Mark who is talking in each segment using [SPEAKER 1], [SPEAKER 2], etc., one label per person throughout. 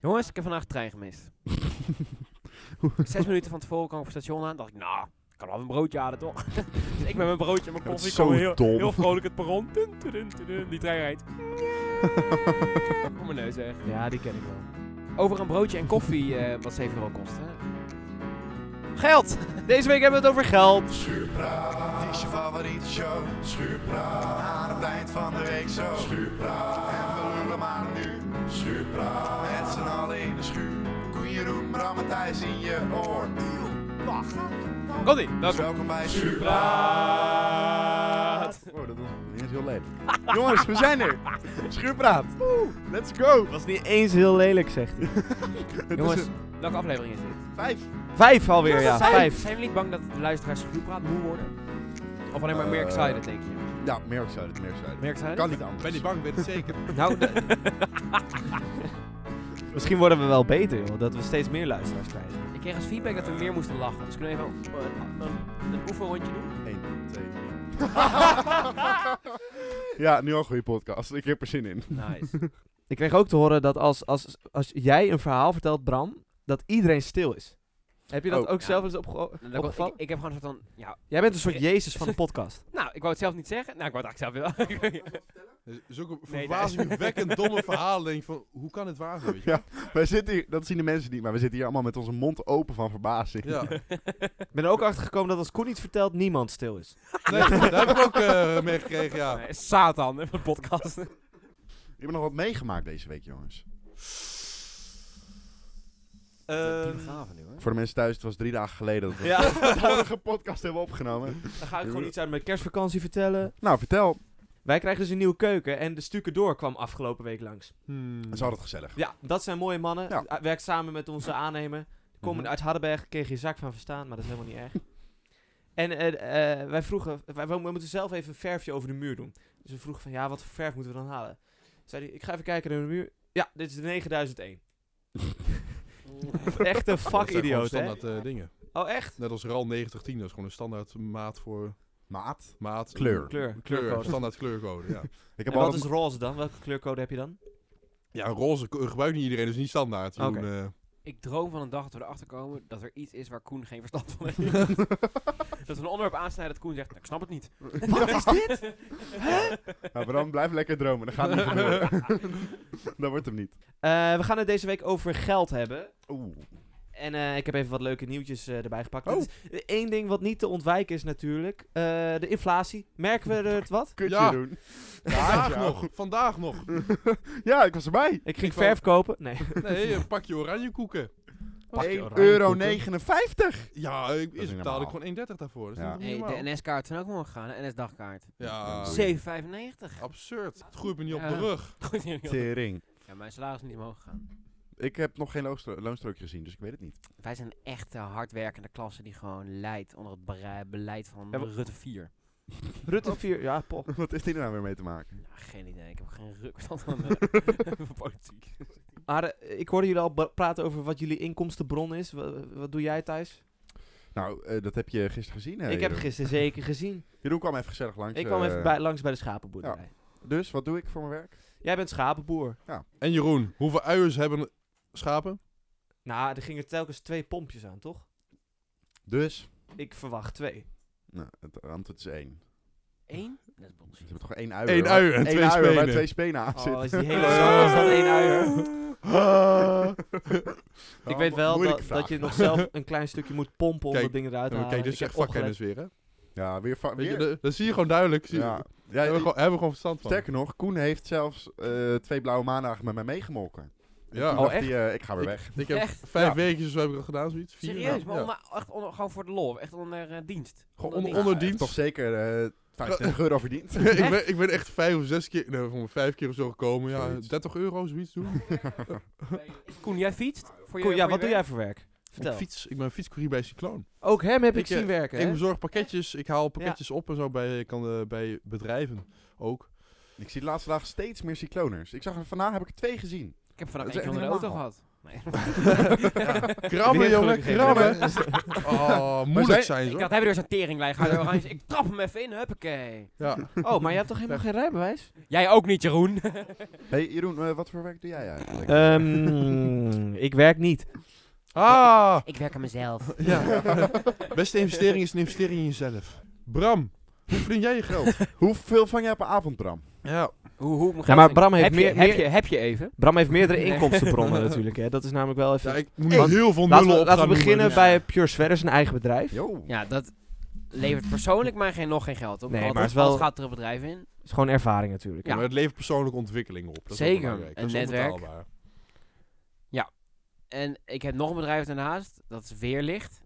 [SPEAKER 1] Jongens, ik heb vandaag de trein gemist. Zes minuten van tevoren kwam ik op het station aan. dacht ik, nou, ik kan wel een broodje halen toch? dus ik met mijn broodje en mijn
[SPEAKER 2] Ja, dat
[SPEAKER 1] koffie
[SPEAKER 2] is
[SPEAKER 1] kwam
[SPEAKER 2] zo
[SPEAKER 1] heel,
[SPEAKER 2] dom.
[SPEAKER 1] heel vrolijk het perron. Dun, dun, dun, dun. die trein rijdt. Om mijn neus weg.
[SPEAKER 3] Ja, die ken ik wel.
[SPEAKER 1] Over een broodje en koffie, eh, wat 7 euro kost. Hè? Geld! Deze week hebben we het over geld.
[SPEAKER 4] Schuurpraat, het is je favoriete show. Schuurpraat, aan het eind van de week zo. Schuurpraat, en we lullen maar nu. Schuurpraat, met z'n allen in de schuur. Koen Jeroen, Bram en Thijs in je oor. Wacht.
[SPEAKER 1] Connie,
[SPEAKER 4] Dus
[SPEAKER 1] welkom.
[SPEAKER 4] welkom bij Schuurpraat.
[SPEAKER 2] Oh, dat was niet eens heel lelijk. Jongens, we zijn er. Schuurpraat. Woe, Let's go.
[SPEAKER 3] Was niet eens heel lelijk, zegt hij.
[SPEAKER 2] Het
[SPEAKER 1] Jongens,
[SPEAKER 2] is een
[SPEAKER 1] welke aflevering is dit?
[SPEAKER 2] vijf.
[SPEAKER 3] Vijf alweer, ja.
[SPEAKER 1] zijn,
[SPEAKER 3] Vijf.
[SPEAKER 1] Zijn jullie niet bang dat de luisteraars schuurpraat moe worden? Of alleen maar meer
[SPEAKER 2] Eh,
[SPEAKER 1] excited, denk je?
[SPEAKER 2] Ja, meer excited, meer excited.
[SPEAKER 1] Meer excited?
[SPEAKER 2] Kan niet anders.
[SPEAKER 5] Ben niet bang, weet het zeker.
[SPEAKER 3] Nou, Misschien worden we wel beter, joh. Dat we steeds meer luisteraars krijgen.
[SPEAKER 1] Ik kreeg als feedback dat we meer moesten lachen. Dus kunnen we even een, een, een oefenrondje doen?
[SPEAKER 2] 1, 2, 3. Ja, nu al een goede podcast. Ik heb er zin in.
[SPEAKER 1] Nice.
[SPEAKER 3] Ik kreeg ook te horen dat als, als, als jij een verhaal vertelt, Bram, dat iedereen stil is. Heb je dat
[SPEAKER 2] Oh,
[SPEAKER 3] ook
[SPEAKER 1] ja.
[SPEAKER 3] zelf eens opge-
[SPEAKER 1] Nou, dat- ik,
[SPEAKER 3] opgevallen?
[SPEAKER 1] ik heb gewoon een soort van... Ja,
[SPEAKER 3] Jij bent een soort
[SPEAKER 1] ik-
[SPEAKER 3] Jezus van de podcast.
[SPEAKER 1] nou, ik wou het zelf niet zeggen. Nou, ik wou het eigenlijk zelf wel.
[SPEAKER 5] Dus Zulke
[SPEAKER 1] Nee,
[SPEAKER 5] verbazingwekkend domme verhalen. Denk ik van, hoe kan het waar zijn? weet je?
[SPEAKER 2] Ja. Wij zitten hier, dat zien de mensen niet, maar we zitten hier allemaal met onze mond open van verbazing.
[SPEAKER 5] Ja.
[SPEAKER 3] Ik ben er ook achter gekomen dat als Koen iets vertelt, niemand stil is.
[SPEAKER 5] Nee, daar heb ik ook eh mee gekregen, ja.
[SPEAKER 1] Nee, Satan, hè, van de podcast.
[SPEAKER 2] Ik heb nog wat meegemaakt deze week, jongens.
[SPEAKER 1] gaven nu, hoor.
[SPEAKER 2] Voor de mensen thuis, het was drie dagen geleden dat we
[SPEAKER 3] Ja,
[SPEAKER 2] de vorige podcast hebben opgenomen.
[SPEAKER 3] dan ga ik gewoon iets uit mijn kerstvakantie vertellen.
[SPEAKER 2] Nou, vertel.
[SPEAKER 3] Wij krijgen dus een nieuwe keuken en de Stukken Door kwam afgelopen week langs.
[SPEAKER 2] Het is altijd gezellig.
[SPEAKER 3] Ja, dat zijn mooie mannen.
[SPEAKER 2] Ja.
[SPEAKER 3] Hij Werkt samen met onze aannemer. Komen
[SPEAKER 2] Mhm.
[SPEAKER 3] uit Hardenberg, kreeg je zak van verstaan, maar dat is helemaal niet erg. En eh, eh, wij vroegen, wij, we moeten zelf even een verfje over de muur doen. Dus we vroegen van, ja, wat voor verf moeten we dan halen? Zei hij, ik ga even kijken naar de muur. Ja, dit is de 9001. Echt een
[SPEAKER 5] Dat zijn gewoon
[SPEAKER 3] vakidioot, hè?
[SPEAKER 5] standaard eh, dingen.
[SPEAKER 3] Oh, echt?
[SPEAKER 5] Net als RAL 9010, dat is gewoon een standaard maat voor
[SPEAKER 2] Maat.
[SPEAKER 5] maat.
[SPEAKER 2] Kleur.
[SPEAKER 3] Kleur,
[SPEAKER 5] Kleur,
[SPEAKER 3] kleurcode.
[SPEAKER 5] standaard kleurcode, ja.
[SPEAKER 2] Ik
[SPEAKER 3] En
[SPEAKER 2] heb
[SPEAKER 3] wat
[SPEAKER 2] altijd
[SPEAKER 3] is roze dan? Welke kleurcode heb je dan?
[SPEAKER 5] Ja, een roze k- gebruikt niet iedereen, dus niet standaard. We
[SPEAKER 3] Oké.
[SPEAKER 5] doen, eh,
[SPEAKER 1] Ik droom van een dag dat we erachter komen dat er iets is waar Koen geen verstand van heeft. dat we een onderwerp aansnijden dat Koen zegt, "Nou, ik snap het niet.
[SPEAKER 3] Wat is dit?
[SPEAKER 2] Ja, Nou, Bram, blijf lekker dromen. Dat gaat niet gebeuren. dat wordt hem niet.
[SPEAKER 3] Eh, we gaan het deze week over geld hebben.
[SPEAKER 2] Oeh.
[SPEAKER 3] En eh, ik heb even wat leuke nieuwtjes eh, erbij gepakt. Eén ding wat niet te ontwijken is natuurlijk. eh, de inflatie. Merken we er het wat?
[SPEAKER 2] Kutje
[SPEAKER 5] Ja.
[SPEAKER 2] doen.
[SPEAKER 5] vandaag
[SPEAKER 2] ja.
[SPEAKER 5] nog, vandaag nog.
[SPEAKER 2] Ja, ik was erbij.
[SPEAKER 3] Ik ging
[SPEAKER 5] Ik wou-
[SPEAKER 3] verf kopen. Nee.
[SPEAKER 5] Nee, een pakje oranje koeken.
[SPEAKER 3] Pak je
[SPEAKER 2] 1,59
[SPEAKER 3] oranje
[SPEAKER 2] euro.
[SPEAKER 3] koeken.
[SPEAKER 2] 59.
[SPEAKER 5] Ja, ik,
[SPEAKER 2] is niet
[SPEAKER 5] eerst betaalde ik
[SPEAKER 2] normaal.
[SPEAKER 5] gewoon 1,30 daarvoor. Dat is
[SPEAKER 2] Ja.
[SPEAKER 5] niet
[SPEAKER 1] Hey,
[SPEAKER 5] normaal.
[SPEAKER 1] de NS-kaart zijn ook gewoon gegaan, de NS-dagkaart.
[SPEAKER 5] ja,
[SPEAKER 2] Oei.
[SPEAKER 1] 7,95.
[SPEAKER 5] absurd. Het groeit me niet op
[SPEAKER 1] Ja.
[SPEAKER 5] de rug.
[SPEAKER 1] Goed, jongen.
[SPEAKER 2] Tering.
[SPEAKER 1] ja, mijn salaris is niet omhoog gegaan.
[SPEAKER 2] Ik heb nog geen loonstro- loonstrookje gezien, dus ik weet het niet.
[SPEAKER 1] Wij zijn een echte hardwerkende klasse die gewoon leidt onder het bere- beleid van
[SPEAKER 3] Ja, maar-
[SPEAKER 1] Rutte 4.
[SPEAKER 3] Rutte 4. Ja, pop.
[SPEAKER 2] Wat is dit nou weer mee te maken?
[SPEAKER 1] Nou, geen idee. Ik heb geen ruk van, eh, van politiek.
[SPEAKER 3] Maar eh, ik hoorde jullie al ba- praten over wat jullie inkomstenbron is. Wa- Wat, doe jij thuis?
[SPEAKER 2] Nou, eh, dat heb je gisteren gezien. hè,
[SPEAKER 3] ik heb
[SPEAKER 2] Jeroen?
[SPEAKER 3] gisteren zeker gezien.
[SPEAKER 2] Jeroen kwam even gezellig langs.
[SPEAKER 3] Ik kwam
[SPEAKER 2] eh,
[SPEAKER 3] even bij, langs bij de schapenboerderij.
[SPEAKER 2] Dus, wat doe ik voor mijn werk?
[SPEAKER 3] Jij bent schapenboer.
[SPEAKER 5] En Jeroen, hoeveel uiers hebben schapen?
[SPEAKER 3] Nou, er gingen telkens twee pompjes aan, toch?
[SPEAKER 2] Dus?
[SPEAKER 3] Ik verwacht twee.
[SPEAKER 2] Nou, het antwoord is één.
[SPEAKER 1] Eén? Dat is
[SPEAKER 2] Ze
[SPEAKER 1] bullshit.
[SPEAKER 2] hebben toch één uier?
[SPEAKER 5] Eén
[SPEAKER 2] hoor?
[SPEAKER 5] uier en
[SPEAKER 2] Eén
[SPEAKER 5] twee
[SPEAKER 2] uier waar
[SPEAKER 5] spenen.
[SPEAKER 2] twee spenen aan
[SPEAKER 3] Oh,
[SPEAKER 2] zitten.
[SPEAKER 3] is die hele zak is dat één uier?
[SPEAKER 2] Ah.
[SPEAKER 3] Ik weet wel
[SPEAKER 2] Moeilijke
[SPEAKER 3] dat,
[SPEAKER 2] vraag.
[SPEAKER 3] dat je nog zelf een klein stukje moet pompen om
[SPEAKER 5] Kijk,
[SPEAKER 3] dat ding eruit te
[SPEAKER 5] Ja, maar
[SPEAKER 3] halen.
[SPEAKER 5] Kijk, dus dit is
[SPEAKER 3] Ik heb
[SPEAKER 5] echt
[SPEAKER 3] opgelet.
[SPEAKER 5] vakkennis weer, hè?
[SPEAKER 2] Ja, weer... va-
[SPEAKER 5] Weet je,
[SPEAKER 2] weer-
[SPEAKER 5] dat, dat zie je gewoon duidelijk. Zie je-
[SPEAKER 2] Ja.
[SPEAKER 5] Daar
[SPEAKER 2] Ja,
[SPEAKER 5] hebben, we gewoon, hebben we gewoon verstand van.
[SPEAKER 2] Sterker nog, Koen heeft zelfs eh, twee blauwe maandagen met mij meegemolken. En
[SPEAKER 5] Ja.
[SPEAKER 2] toen
[SPEAKER 3] Oh,
[SPEAKER 2] dacht
[SPEAKER 3] echt?
[SPEAKER 2] hij, eh, ik ga weer
[SPEAKER 5] Ik-
[SPEAKER 2] weg.
[SPEAKER 5] Ik heb
[SPEAKER 1] Echt?
[SPEAKER 5] vijf
[SPEAKER 2] Ja.
[SPEAKER 5] weken of zo heb ik al gedaan, zoiets. Vier,
[SPEAKER 1] Serieus,
[SPEAKER 5] ja.
[SPEAKER 1] maar
[SPEAKER 5] Ja.
[SPEAKER 1] onder, echt onder- gewoon voor de lol. Echt onder eh, dienst.
[SPEAKER 5] Gewoon
[SPEAKER 1] onder
[SPEAKER 5] onder,
[SPEAKER 1] dienst.
[SPEAKER 5] onder
[SPEAKER 2] Hij heeft
[SPEAKER 5] dienst.
[SPEAKER 2] toch zeker eh 25 euro verdiend.
[SPEAKER 5] ik, ben, ik ben echt vijf of zes keer, nee, voor vijf keer of zo gekomen. Ja,
[SPEAKER 2] Zoiets.
[SPEAKER 5] 30 euro, zoiets doen.
[SPEAKER 1] Koen, jij fietst? Voor je,
[SPEAKER 3] Koen, ja,
[SPEAKER 1] voor
[SPEAKER 3] wat
[SPEAKER 1] je
[SPEAKER 3] doe
[SPEAKER 1] werk?
[SPEAKER 3] jij voor werk?
[SPEAKER 5] Ik,
[SPEAKER 3] Vertel.
[SPEAKER 5] fiets, ik ben fietscourier bij Cycloon.
[SPEAKER 3] Ook hem heb ik,
[SPEAKER 5] Ik, eh,
[SPEAKER 3] zien werken,
[SPEAKER 5] Ik
[SPEAKER 3] hè?
[SPEAKER 5] bezorg pakketjes, ik haal pakketjes op en zo bij, ik kan, eh, bij bedrijven ook.
[SPEAKER 2] ik zie de laatste dagen steeds meer cycloners. Ik zag er, vandaag heb ik er twee gezien.
[SPEAKER 1] Ik heb vandaag
[SPEAKER 2] Dat is
[SPEAKER 1] eentje onder de
[SPEAKER 2] echt
[SPEAKER 1] auto
[SPEAKER 2] niet
[SPEAKER 1] gehad. Nee.
[SPEAKER 5] Krabben,
[SPEAKER 3] Weer
[SPEAKER 5] jongen,
[SPEAKER 3] gelukkig even.
[SPEAKER 5] krabben. Oh, moeilijk zijn
[SPEAKER 1] Ik
[SPEAKER 5] ze.
[SPEAKER 1] dacht, hebben we dus een teringlijn? Ga door oranje. Ik trap hem even in, huppakee.
[SPEAKER 5] Ja.
[SPEAKER 3] Oh, maar je hebt toch helemaal geen rijbewijs?
[SPEAKER 1] Jij ook niet, Jeroen.
[SPEAKER 2] hey, Jeroen, eh, wat voor werk doe jij eigenlijk?
[SPEAKER 3] Eh. Ehm, ik werk niet.
[SPEAKER 5] Ah,
[SPEAKER 1] Ik werk aan mezelf.
[SPEAKER 5] ja. Beste investering is een investering in jezelf. Bram, hoe verdien jij je geld?
[SPEAKER 2] Hoeveel vang jij per avond, Bram?
[SPEAKER 5] Ja.
[SPEAKER 1] Hoe, hoe moet
[SPEAKER 3] Ja, maar Bram heeft
[SPEAKER 1] heb
[SPEAKER 3] meer-
[SPEAKER 1] Je, heb,
[SPEAKER 3] meer-
[SPEAKER 1] je, heb je even?
[SPEAKER 3] Bram heeft meerdere
[SPEAKER 1] Nee.
[SPEAKER 3] inkomstenbronnen natuurlijk. Hè. Dat is namelijk wel even...
[SPEAKER 5] ja ik moet nog heel veel
[SPEAKER 3] laten,
[SPEAKER 5] nullen op
[SPEAKER 3] we, laten
[SPEAKER 5] gaan
[SPEAKER 3] we beginnen
[SPEAKER 5] noemen,
[SPEAKER 3] bij Pure Sweater, zijn eigen bedrijf.
[SPEAKER 2] Jo.
[SPEAKER 1] Ja, dat levert persoonlijk maar geen, nog geen geld op.
[SPEAKER 3] Nee,
[SPEAKER 1] Altijd-
[SPEAKER 3] maar het is wel-
[SPEAKER 1] altijd gaat er een bedrijf in.
[SPEAKER 3] is gewoon ervaring natuurlijk.
[SPEAKER 5] dus.
[SPEAKER 1] ja.
[SPEAKER 5] Maar het levert persoonlijke ontwikkeling op. Dat is wel
[SPEAKER 1] Zeker.
[SPEAKER 5] belangrijk.
[SPEAKER 1] Een
[SPEAKER 5] Dat is
[SPEAKER 1] netwerk.
[SPEAKER 5] onbetaalbaar.
[SPEAKER 1] En ik heb nog een bedrijf daarnaast. Dat is Weerlicht.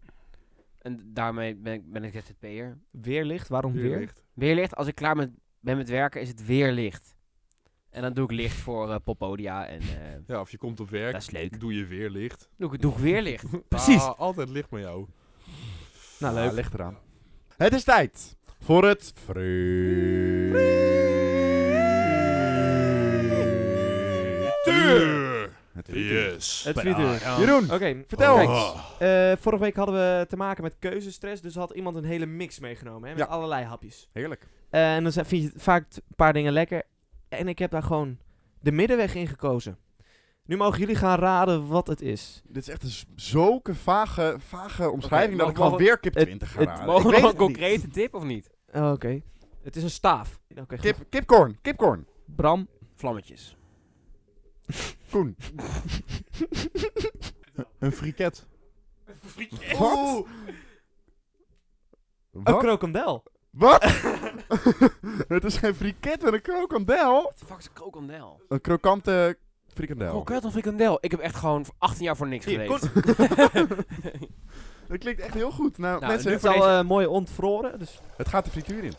[SPEAKER 1] En daarmee ben ik, ben ik ZZP'er.
[SPEAKER 3] Weerlicht, waarom weer?
[SPEAKER 5] Weerlicht.
[SPEAKER 1] Weerlicht, als ik klaar met, ben met werken, is het weerlicht. En dan doe ik licht voor eh, Popodia en eh,
[SPEAKER 5] Ja, of je komt op
[SPEAKER 1] dat
[SPEAKER 5] werk,
[SPEAKER 1] is leuk.
[SPEAKER 5] doe je weer licht.
[SPEAKER 1] Doe ik, doe ik weerlicht. Precies.
[SPEAKER 5] Ah, altijd licht met jou.
[SPEAKER 3] Nou,
[SPEAKER 2] Ah,
[SPEAKER 3] leuk.
[SPEAKER 2] ligt eraan. Het is tijd voor het frituur. Het frituur.
[SPEAKER 5] Yes. Oh.
[SPEAKER 3] Het frituur.
[SPEAKER 2] Jeroen,
[SPEAKER 3] Oké,
[SPEAKER 2] vertel
[SPEAKER 3] kijk,
[SPEAKER 2] ons.
[SPEAKER 3] eh, vorige week hadden we te maken met keuzestress, dus had iemand een hele mix meegenomen, hè, met
[SPEAKER 2] Ja.
[SPEAKER 3] allerlei hapjes.
[SPEAKER 2] Heerlijk.
[SPEAKER 3] Eh, en dan zijn- vind je vaak t- een paar dingen lekker. En ik heb daar gewoon de middenweg in gekozen. Nu mogen jullie gaan raden wat het is.
[SPEAKER 2] Dit is echt een z- zulke vage, vage omschrijving
[SPEAKER 1] maar
[SPEAKER 2] dat ik gewoon
[SPEAKER 1] mogen-
[SPEAKER 2] weer kip
[SPEAKER 3] het-
[SPEAKER 2] 20 ga
[SPEAKER 3] het-
[SPEAKER 2] raden.
[SPEAKER 1] Mogen
[SPEAKER 2] Ik
[SPEAKER 1] we
[SPEAKER 2] weet
[SPEAKER 1] nog een
[SPEAKER 2] het niet.
[SPEAKER 1] concrete tip of niet?
[SPEAKER 3] Oh, Oké. Het is een staaf. Oké, goed.
[SPEAKER 2] Kip, kipcorn, kipcorn.
[SPEAKER 3] Bram.
[SPEAKER 1] Vlammetjes.
[SPEAKER 2] Koen.
[SPEAKER 5] Een friket.
[SPEAKER 2] Wat?
[SPEAKER 3] Een
[SPEAKER 2] Wat?
[SPEAKER 3] krokandel.
[SPEAKER 2] Wat? het is geen friket en een krokandel.
[SPEAKER 1] What the fuck is een krokandel?
[SPEAKER 2] Een krokante frikandel.
[SPEAKER 1] Kroket of frikandel? Ik heb echt gewoon voor 18 jaar voor niks
[SPEAKER 3] Hier,
[SPEAKER 1] geleefd.
[SPEAKER 2] Dat klinkt echt heel goed. Nou,
[SPEAKER 1] Nou,
[SPEAKER 2] mensen,
[SPEAKER 1] nu
[SPEAKER 3] Het is al eh, mooi ontvroren. Dus.
[SPEAKER 2] het gaat de frituur in.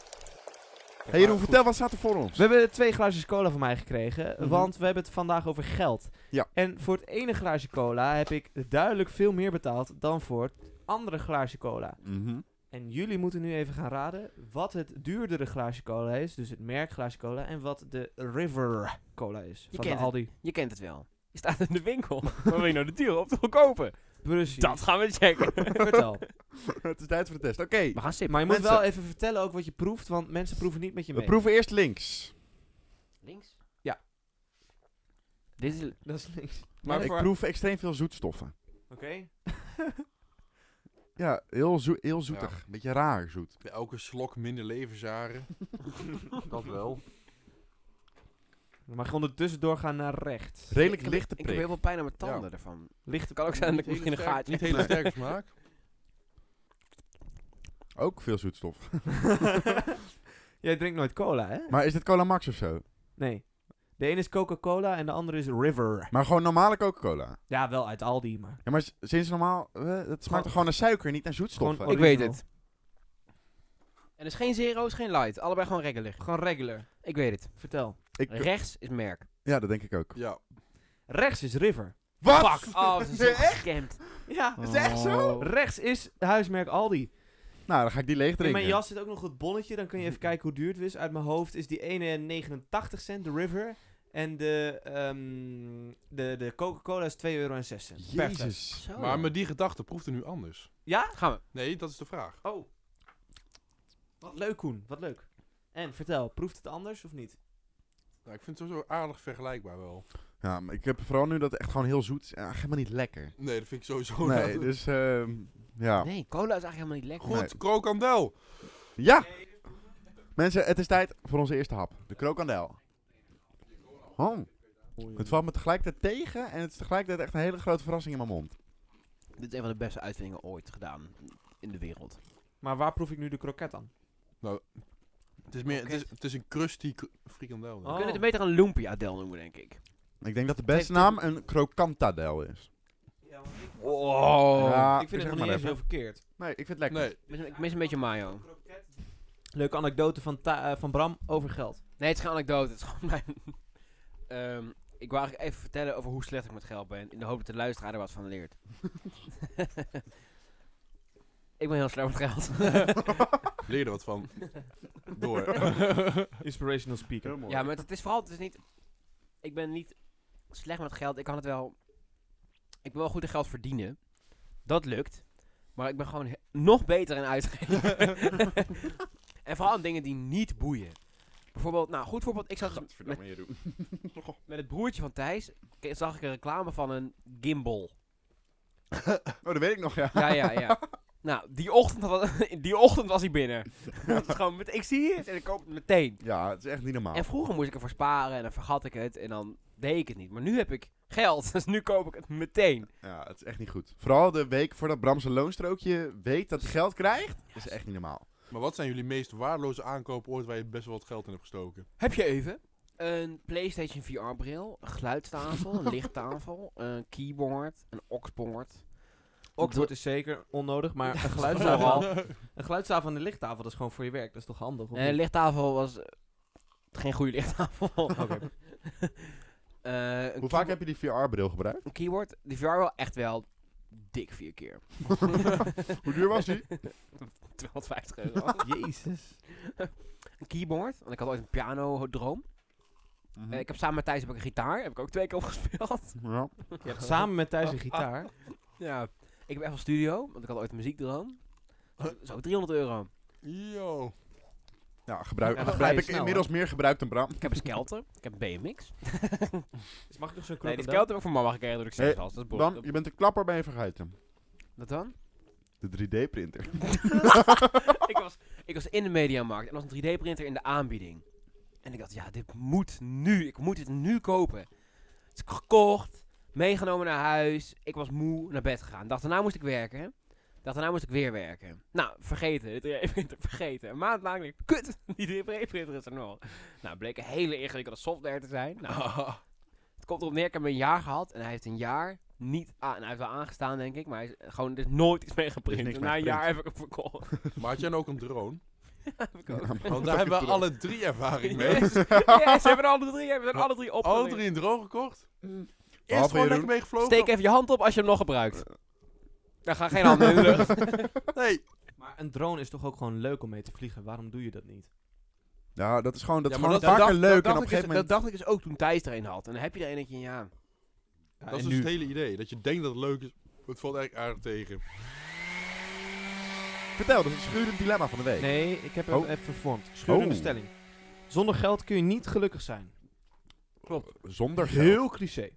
[SPEAKER 2] hey Jeroen, vertel, wat staat er voor ons?
[SPEAKER 3] We hebben twee glaasjes cola van mij gekregen, want we hebben het vandaag over geld.
[SPEAKER 2] Mhm. Ja.
[SPEAKER 3] En voor het ene glaasje cola heb ik duidelijk veel meer betaald dan voor het andere glaasje cola.
[SPEAKER 2] Mhm.
[SPEAKER 3] En jullie moeten nu even gaan raden wat het duurdere glaasje cola is, dus het merk glaasje cola, en wat de River cola is.
[SPEAKER 1] Je
[SPEAKER 3] van
[SPEAKER 1] kent
[SPEAKER 3] de
[SPEAKER 1] het.
[SPEAKER 3] Aldi.
[SPEAKER 1] Je kent het wel. Je staat in de winkel. Wat wil je nou de duur of te goedkope?
[SPEAKER 3] Precies.
[SPEAKER 1] Dat gaan we checken.
[SPEAKER 3] Vertel.
[SPEAKER 2] het is tijd voor de test. Oké,
[SPEAKER 1] We gaan
[SPEAKER 3] Maar
[SPEAKER 1] sippen.
[SPEAKER 3] je moet
[SPEAKER 2] Mensen.
[SPEAKER 3] wel even vertellen ook wat je proeft, want mensen proeven niet met je
[SPEAKER 2] we
[SPEAKER 3] mee.
[SPEAKER 2] proeven eerst links.
[SPEAKER 1] Links?
[SPEAKER 3] Ja.
[SPEAKER 1] Dit is...
[SPEAKER 3] Dat is niks.
[SPEAKER 2] Maar ik
[SPEAKER 3] voor-
[SPEAKER 2] proef extreem veel zoetstoffen.
[SPEAKER 3] Oké.
[SPEAKER 2] Ja, heel, zoe- heel zoetig. Beetje raar zoet.
[SPEAKER 5] Bij elke slok minder levensjaren. dat wel.
[SPEAKER 3] Dan mag je ondertussen doorgaan naar rechts.
[SPEAKER 2] Redelijk
[SPEAKER 1] Ik heb-
[SPEAKER 2] lichte
[SPEAKER 1] Ik heb
[SPEAKER 2] prik.
[SPEAKER 1] heel veel pijn aan mijn tanden
[SPEAKER 5] Ja.
[SPEAKER 1] ervan.
[SPEAKER 3] Lichte
[SPEAKER 1] Het kan ook zijn dat ik misschien een gaatje
[SPEAKER 5] Niet hele sterke smaak.
[SPEAKER 2] Ook veel zoetstof.
[SPEAKER 3] Jij drinkt nooit cola, hè?
[SPEAKER 2] Maar is dit Cola Max of zo?
[SPEAKER 3] Nee. De ene is Coca-Cola en de andere is River.
[SPEAKER 2] Maar gewoon normale Coca-Cola.
[SPEAKER 3] Ja, wel uit Aldi, maar...
[SPEAKER 2] Ja, maar s- sinds normaal... eh, het smaakt
[SPEAKER 3] Gewoon-
[SPEAKER 2] toch gewoon naar suiker, niet naar zoetstoffen?
[SPEAKER 3] Gewoon
[SPEAKER 1] Ik weet
[SPEAKER 3] Original.
[SPEAKER 1] het. En is geen zero, is geen light. Allebei gewoon regular.
[SPEAKER 3] Gewoon regular.
[SPEAKER 1] Ik weet het.
[SPEAKER 3] Vertel.
[SPEAKER 2] ik,
[SPEAKER 1] Rechts is merk.
[SPEAKER 2] ja, dat denk ik ook.
[SPEAKER 5] Ja.
[SPEAKER 1] Oh.
[SPEAKER 3] Rechts is River.
[SPEAKER 2] Wat?
[SPEAKER 1] Fuck! Oh, ze
[SPEAKER 2] Nee,
[SPEAKER 1] zijn zo gescamd.
[SPEAKER 3] Ja.
[SPEAKER 2] Is het echt zo?
[SPEAKER 3] Rechts is huismerk Aldi.
[SPEAKER 2] Nou, dan ga ik die leeg
[SPEAKER 3] In
[SPEAKER 2] drinken.
[SPEAKER 3] mijn jas zit ook nog het bonnetje. Dan kun je even kijken hoe duur het is. Uit mijn hoofd is die ene 89 cent, de River. En de, ehm, de, de Coca-Cola is 2,06 euro. Perfect.
[SPEAKER 2] Jezus.
[SPEAKER 1] Zo.
[SPEAKER 5] Maar met die gedachte proeft het nu anders.
[SPEAKER 3] Ja?
[SPEAKER 1] Gaan we.
[SPEAKER 5] Nee, dat is de vraag.
[SPEAKER 3] Oh. Wat leuk, Koen. Wat leuk. En, vertel. Proeft het anders of niet?
[SPEAKER 5] Nou, ik vind het sowieso aardig vergelijkbaar wel.
[SPEAKER 2] Ja, maar ik heb vooral nu dat het echt gewoon heel zoet is. Ja, helemaal niet lekker.
[SPEAKER 5] Nee, dat vind ik sowieso
[SPEAKER 2] Nee,
[SPEAKER 5] niet.
[SPEAKER 2] dus ehm, ja.
[SPEAKER 1] Nee, cola is eigenlijk helemaal niet lekker.
[SPEAKER 5] Goed,
[SPEAKER 2] Nee.
[SPEAKER 5] krokandel.
[SPEAKER 2] Ja! Mensen, het is tijd voor onze eerste hap. De krokandel. Oh, het valt me tegelijkertijd tegen en het is tegelijkertijd echt een hele grote verrassing in mijn mond.
[SPEAKER 1] Dit is een van de beste uitvindingen ooit gedaan in de wereld.
[SPEAKER 3] Oh. Maar waar proef ik nu de kroket aan?
[SPEAKER 5] Het is, meer, het is, het is een crusty k- frikandel. denk ik.
[SPEAKER 1] We
[SPEAKER 3] Oh.
[SPEAKER 1] kunnen het beter een lumpia-del noemen, denk ik.
[SPEAKER 2] Ik denk dat de
[SPEAKER 3] heeft
[SPEAKER 2] beste naam een krokantadel is.
[SPEAKER 1] Oh.
[SPEAKER 2] Ja,
[SPEAKER 3] ik vind het
[SPEAKER 2] Ah, zeg
[SPEAKER 3] nog
[SPEAKER 2] maar
[SPEAKER 3] niet eens
[SPEAKER 2] even.
[SPEAKER 3] heel verkeerd.
[SPEAKER 2] Nee, ik vind het lekker.
[SPEAKER 5] Nee,
[SPEAKER 1] Ik mis- Ik mis een beetje mayo.
[SPEAKER 3] Leuke anekdote van, Ta- eh, van Bram over geld.
[SPEAKER 1] Nee, het is geen anekdote. Het is gewoon mijn... Ehm, ik wil eigenlijk even vertellen over hoe slecht ik met geld ben. In de hoop dat de luisteraar er wat van leert. ik ben heel slecht met geld.
[SPEAKER 5] leer er wat van. Door.
[SPEAKER 3] Inspirational speaker.
[SPEAKER 1] ja, maar het is vooral... Het is niet, ik ben niet slecht met geld. Ik kan het wel ik ben wel goed in geld verdienen. Dat lukt. Maar ik ben gewoon he- nog beter in uitgeven. en vooral aan dingen die niet boeien. Bijvoorbeeld, nou, goed voorbeeld. Ik zag dus met,
[SPEAKER 2] Jeroen.
[SPEAKER 1] met het broertje van Thijs. k- zag ik een reclame van een gimbal.
[SPEAKER 2] Oh, dat weet ik nog, ja.
[SPEAKER 1] Ja, ja, ja. nou, die ochtend, was, die ochtend was hij binnen. Dat is gewoon met, ik zie het en ik koop het meteen.
[SPEAKER 2] Ja, het is echt niet normaal.
[SPEAKER 1] En vroeger moest ik ervoor sparen en dan vergat ik het en dan deed ik het niet. Maar nu heb ik geld, dus nu koop ik het meteen.
[SPEAKER 2] Ja, het is echt niet goed. Vooral de week voordat Bram zijn loonstrookje weet dat hij geld krijgt, is echt niet normaal.
[SPEAKER 5] Maar wat zijn jullie meest waardeloze aankopen ooit waar je best wel wat geld in hebt gestoken?
[SPEAKER 1] Heb je even? Een PlayStation VR-bril, een geluidstafel, een lichttafel, een keyboard, een oxboard.
[SPEAKER 3] Oxford is zeker onnodig, maar een geluidstafel, een geluidstafel en een lichttafel, dat is gewoon voor je werk. Dat is toch handig? of
[SPEAKER 1] Nee, een
[SPEAKER 3] niet?
[SPEAKER 1] lichttafel was eh, geen goede lichttafel. Eh, een
[SPEAKER 2] Hoe vaak
[SPEAKER 1] keybo-
[SPEAKER 2] heb je die VR-bril gebruikt?
[SPEAKER 1] Een keyboard, die VR-bril echt wel dik vier keer.
[SPEAKER 2] Hoe duur was die?
[SPEAKER 1] 250 euro.
[SPEAKER 3] Jezus.
[SPEAKER 1] een keyboard, want ik had ooit een piano-droom.
[SPEAKER 2] Mhm.
[SPEAKER 1] Eh, ik heb samen met Thijs heb ik een gitaar, heb ik ook twee keer op gespeeld.
[SPEAKER 2] Ja.
[SPEAKER 3] Je hebt samen met
[SPEAKER 1] Oh.
[SPEAKER 3] Thijs een gitaar.
[SPEAKER 1] ja. Ik heb echt van studio, want ik had ooit een muziekdroom. Dat is ook 300 euro.
[SPEAKER 5] Yo.
[SPEAKER 2] Ja, gebruik,
[SPEAKER 3] Ja, dan ga je
[SPEAKER 2] heb ik
[SPEAKER 3] snel,
[SPEAKER 2] inmiddels meer gebruikt dan Bram.
[SPEAKER 1] Ik heb een skelter, ik heb een BMX.
[SPEAKER 3] Dus mag ik nog zo'n
[SPEAKER 1] Nee, die
[SPEAKER 3] krokodil?
[SPEAKER 1] skelter heb ik van mama gekregen door ik
[SPEAKER 2] Hey,
[SPEAKER 1] zeg was. Dat is
[SPEAKER 2] Bram,
[SPEAKER 1] boos.
[SPEAKER 2] je bent een klapper bij je vergeten.
[SPEAKER 1] Wat dan?
[SPEAKER 2] De 3D-printer.
[SPEAKER 1] ik, was, ik was in de mediamarkt en er was een 3D-printer in de aanbieding. En ik dacht, ja, dit moet nu. Ik moet het nu kopen. Dus ik gekocht, meegenomen naar huis. Ik was moe, naar bed gegaan. Dacht, daarna moest ik werken. Dacht, daarna moest ik weer werken. Nou, vergeten. De 3D-printer vergeten. Een maand lang denk ik, kut, die 3D-printer is er nog. Nou, bleek een hele ingewikkelde software te zijn. Nou, het komt erop neer, ik heb hem een jaar gehad. En hij heeft een jaar niet aan. Hij heeft wel aangestaan, denk ik. Maar hij is gewoon, er is nooit iets mee geprint.
[SPEAKER 2] niks
[SPEAKER 1] En Na
[SPEAKER 2] mee
[SPEAKER 1] een jaar heb ik hem verkocht.
[SPEAKER 5] Maar had jij nou ook een drone?
[SPEAKER 1] Heb ik ook.
[SPEAKER 5] Want daar hebben we alle drie ervaring mee.
[SPEAKER 1] Jezus, ja, ze hebben er alle drie, hebben er alle drie op.
[SPEAKER 5] Alle drie een drone gekocht. Eerst
[SPEAKER 2] Behalve
[SPEAKER 5] gewoon lekker
[SPEAKER 2] Jeroen.
[SPEAKER 5] mee gevlogen.
[SPEAKER 1] Steek even je hand op als je hem nog gebruikt. Dan gaan geen handen in de lucht.
[SPEAKER 5] Nee.
[SPEAKER 3] Maar een drone is toch ook gewoon leuk om mee te vliegen? Waarom doe je dat niet?
[SPEAKER 2] Ja, dat is gewoon, dat
[SPEAKER 5] Ja,
[SPEAKER 2] is
[SPEAKER 5] maar
[SPEAKER 2] gewoon
[SPEAKER 5] dat-
[SPEAKER 2] vaker
[SPEAKER 1] dacht- dat
[SPEAKER 2] leuk. en op
[SPEAKER 1] dacht
[SPEAKER 2] een
[SPEAKER 1] ik
[SPEAKER 2] gegeven
[SPEAKER 1] dus-
[SPEAKER 2] moment...
[SPEAKER 1] Dat dacht ik dus ook toen Thijs er een had. En dan heb je er een eentje, ja.
[SPEAKER 3] Ja,
[SPEAKER 5] dat is
[SPEAKER 3] en nu?
[SPEAKER 5] dus het hele idee. Dat je denkt dat het leuk is. maar Het valt eigenlijk aardig tegen.
[SPEAKER 2] Vertel, dat is een schurend dilemma van de week.
[SPEAKER 3] Nee, ik heb hem
[SPEAKER 2] Oh.
[SPEAKER 3] even vervormd. Schurende
[SPEAKER 2] Oh.
[SPEAKER 3] stelling. Zonder geld kun je niet gelukkig zijn.
[SPEAKER 1] Klopt.
[SPEAKER 2] Zonder geld.
[SPEAKER 3] Heel cliché.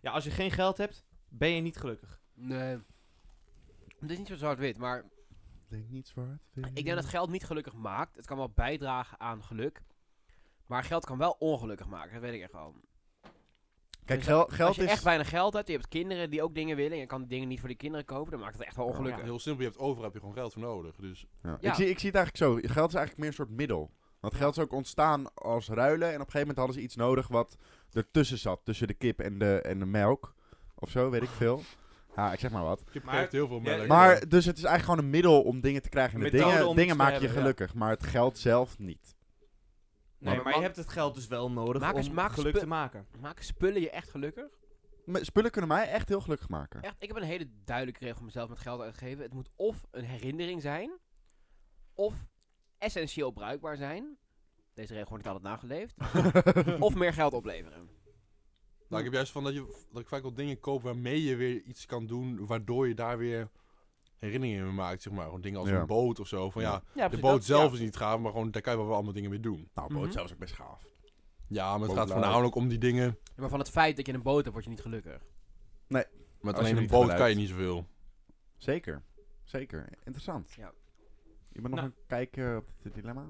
[SPEAKER 3] Ja, als je geen geld hebt, ben je niet gelukkig.
[SPEAKER 1] Nee. Het is niet zo zwart-wit, maar
[SPEAKER 2] Denk niet zwart.
[SPEAKER 1] ik denk dat geld niet gelukkig maakt. Het kan wel bijdragen aan geluk. Maar geld kan wel ongelukkig maken, dat weet ik echt wel.
[SPEAKER 2] Kijk,
[SPEAKER 1] Dus
[SPEAKER 2] gel-
[SPEAKER 1] Als
[SPEAKER 2] geld
[SPEAKER 1] je
[SPEAKER 2] is...
[SPEAKER 1] echt weinig geld hebt, je hebt kinderen die ook dingen willen en je kan die dingen niet voor die kinderen kopen, dan maakt het echt wel ongelukkig.
[SPEAKER 5] Heel simpel. Je hebt overal heb je gewoon geld voor nodig. Dus
[SPEAKER 2] Ja.
[SPEAKER 1] Ja.
[SPEAKER 2] Ik, zie, ik zie het eigenlijk zo. Geld is eigenlijk meer een soort middel. Want geld is ook ontstaan als ruilen. En op een gegeven moment hadden ze iets nodig wat ertussen zat. Tussen de kip en de, en de melk. Of zo, weet ik veel. Ja, ik zeg maar wat.
[SPEAKER 5] je
[SPEAKER 3] Maar-
[SPEAKER 5] krijgt heel veel
[SPEAKER 3] Ja,
[SPEAKER 5] melk.
[SPEAKER 2] Maar dus het is eigenlijk gewoon een middel om dingen te krijgen. En de
[SPEAKER 3] Een methode om
[SPEAKER 2] dingen,
[SPEAKER 3] iets
[SPEAKER 2] dingen
[SPEAKER 3] te
[SPEAKER 2] maken je
[SPEAKER 3] hebben, ja.
[SPEAKER 2] gelukkig. Maar het geld zelf niet.
[SPEAKER 3] Nee, maar,
[SPEAKER 1] man-
[SPEAKER 3] je hebt het geld dus wel nodig
[SPEAKER 1] Maak eens-
[SPEAKER 3] om
[SPEAKER 1] maak
[SPEAKER 3] geluk
[SPEAKER 1] spe-
[SPEAKER 3] te maken.
[SPEAKER 1] Maken spullen je echt gelukkig?
[SPEAKER 2] Maar spullen kunnen mij echt heel gelukkig maken.
[SPEAKER 1] Echt, ik heb een hele duidelijke regel voor mezelf met geld uitgeven. Het moet of een herinnering zijn, of essentieel bruikbaar zijn. Deze regel wordt niet altijd nageleefd. of meer geld opleveren.
[SPEAKER 5] Nou, ik heb juist van dat, je, dat ik vaak wel dingen koop waarmee je weer iets kan doen. Waardoor je daar weer herinneringen mee maakt. Zeg maar. Gewoon dingen als
[SPEAKER 2] Ja.
[SPEAKER 5] een boot of zo. Van ja,
[SPEAKER 2] Ja.
[SPEAKER 3] Ja,
[SPEAKER 5] de boot zelf is niet gaaf. Maar gewoon daar kan je wel weer allemaal dingen mee doen.
[SPEAKER 2] Nou, boot
[SPEAKER 1] Mhm.
[SPEAKER 2] zelf is ook best gaaf.
[SPEAKER 5] Ja, maar het gaat
[SPEAKER 2] Bootlaai.
[SPEAKER 5] voornamelijk om die dingen.
[SPEAKER 1] Maar van het feit dat je een boot hebt, word je niet gelukkig.
[SPEAKER 5] Met
[SPEAKER 2] Als je
[SPEAKER 5] alleen een
[SPEAKER 2] niet
[SPEAKER 5] boot
[SPEAKER 2] geluid.
[SPEAKER 5] kan je niet zoveel.
[SPEAKER 2] Zeker. Zeker. Interessant.
[SPEAKER 1] Ja.
[SPEAKER 2] Je bent nog
[SPEAKER 3] Nou.
[SPEAKER 2] een kijken op het dilemma?